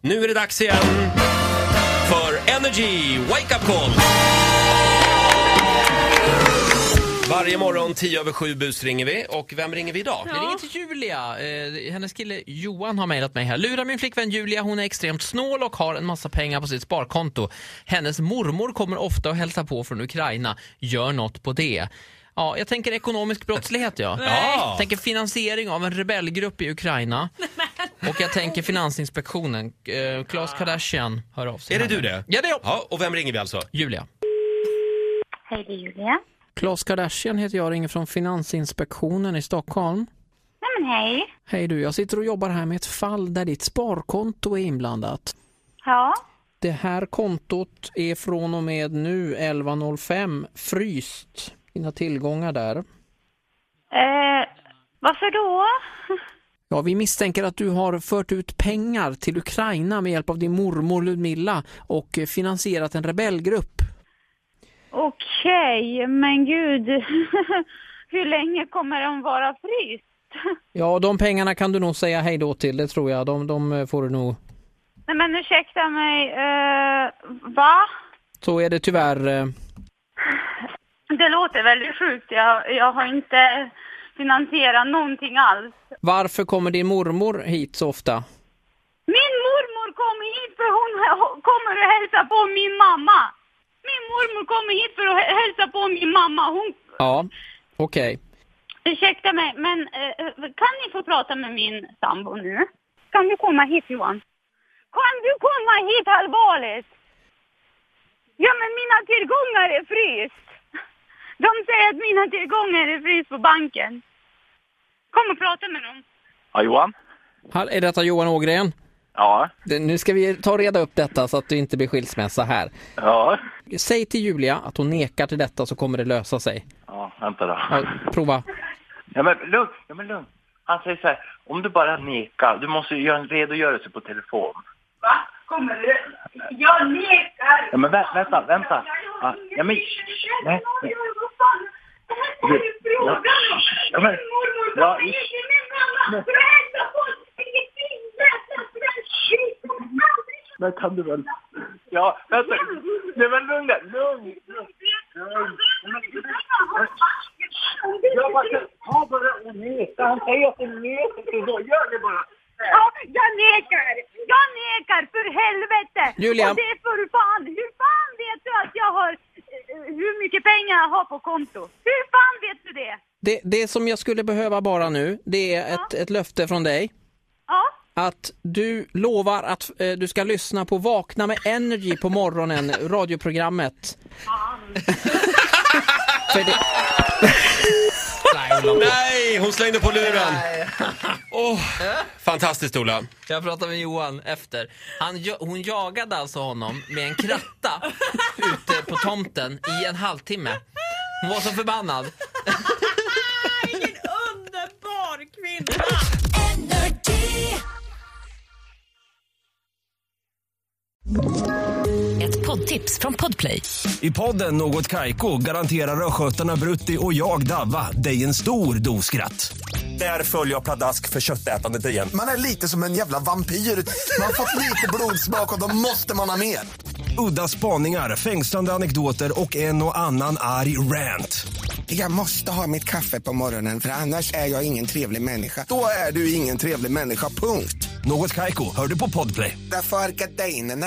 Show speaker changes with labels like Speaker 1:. Speaker 1: Nu är det dags igen för Energy Wake Up Call! Varje morgon 10 över 7 busringer vi. Och vem ringer vi idag?
Speaker 2: Vi ringer till Julia. Eh, hennes kille Johan har mejlat mig här. Lurar min flickvän Julia, hon är extremt snål och har en massa pengar på sitt sparkonto. Hennes mormor kommer ofta och hälsar på från Ukraina. Gör något på det. Ja, jag tänker ekonomisk brottslighet ja.
Speaker 1: Ja.
Speaker 2: Jag tänker finansiering av en rebellgrupp i Ukraina. Och jag tänker Finansinspektionen. Eh, Klas Kardashian hör av sig.
Speaker 1: Är det
Speaker 2: här
Speaker 1: du
Speaker 2: nu.
Speaker 1: det?
Speaker 2: Ja, det är jag.
Speaker 1: Ja, och vem ringer vi alltså?
Speaker 2: Julia.
Speaker 3: Hej, det är Julia.
Speaker 2: Klas Kardashian heter jag, ringer från Finansinspektionen i Stockholm.
Speaker 3: Nej men hej.
Speaker 2: Hej du, jag sitter och jobbar här med ett fall där ditt sparkonto är inblandat.
Speaker 3: Ja.
Speaker 2: Det här kontot är från och med nu 11.05 fryst. Dina tillgångar där.
Speaker 3: Eh, varför då?
Speaker 2: Ja, vi misstänker att du har fört ut pengar till Ukraina med hjälp av din mormor Ludmilla och eh, finansierat en rebellgrupp.
Speaker 3: Okej, men gud. Hur länge kommer den vara fryst?
Speaker 2: Ja, de pengarna kan du nog säga hej då till, det tror jag. De, de eh, får du nog.
Speaker 3: Nej men ursäkta mig. Eh, va?
Speaker 2: Så är det tyvärr. eh.
Speaker 3: Det låter väldigt sjukt. Jag, jag har inte finansierat någonting alls.
Speaker 2: Varför kommer din mormor hit så ofta?
Speaker 3: Min mormor kom hit för hon hon kommer att hälsa på min mamma. Min mormor kommer hit för att hä- hälsa på min mamma. Hon,
Speaker 2: Ja, okej.
Speaker 3: ursäkta mig, men eh, kan ni få prata med min sambo nu? Kan du komma hit Johan? Kan du komma hit allvarligt? Ja men mina tillgångar är fryst. De säger att mina tillgångar är fryst på banken. Kom och prata med dem.
Speaker 4: Ja, Johan?
Speaker 2: Hall- Är detta Johan Ågren?
Speaker 4: Ja.
Speaker 2: Det- Nu ska vi ta och reda upp detta så att det inte blir skilsmässa här.
Speaker 4: Ja.
Speaker 2: Säg till Julia att hon nekar till detta så kommer det lösa sig.
Speaker 4: Ja, vänta då.
Speaker 2: Ja, prova.
Speaker 4: Ja, men lugn. Ja, men lugn. Han säger så här, om du bara nekar, du måste ju göra en redogörelse på telefon.
Speaker 3: Va? Kommer du? Jag nekar!
Speaker 4: Ja, men vä- vänta, vänta. Ja, ja, men- nej, nej.
Speaker 3: Vad är det frågan om?
Speaker 4: Ja,
Speaker 3: Min
Speaker 4: men-
Speaker 3: mormor
Speaker 4: ja,
Speaker 3: kommer
Speaker 4: ish.
Speaker 3: hit till min mamma för att hälsa på sin finländska skit.
Speaker 4: Men kan du väl... Ja, vänta. Nej, men lugn där. Lugn. Jag bara, ta bara och neka. Han säger att du neker. Då gör det bara.
Speaker 3: Ja, jag nekar! Jag nekar, för helvete!
Speaker 2: Julia.
Speaker 3: Och det är för fan, hur fan vet du att jag har, eh, hur mycket pengar jag har på konto? Hur fan vet du det?
Speaker 2: Det, det som jag skulle behöva bara nu, det är ett, ett löfte från dig.
Speaker 3: Ja,
Speaker 2: Att du lovar att eh, du ska lyssna på Vakna med Energy på morgonen, radioprogrammet. För det,
Speaker 1: Nej, hon slängde på luren! Åh, fantastiskt Ola.
Speaker 2: Jag pratade med Johan efter. Han, jo- hon jagade alltså honom med en kratta ute på tomten i en halvtimme. Hon var så förbannad.
Speaker 5: Vilken underbar kvinna!
Speaker 6: Ett poddtips från Podplay.
Speaker 7: I podden Något Kaiko garanterar östgötarna Brutti och jag, Davva, dig en stor dos skratt. Där följer jag pladask för köttätandet igen.
Speaker 8: Man är lite som en jävla vampyr. Man har fått lite blodsmak och då måste man ha mer.
Speaker 7: Udda spaningar, fängslande anekdoter och en och annan arg rant.
Speaker 8: Jag måste ha mitt kaffe på morgonen för annars är jag ingen trevlig människa. Då är du ingen trevlig människa, punkt.
Speaker 7: Något Kaiko, hör du på Podplay.
Speaker 8: Därför arkadeinerna.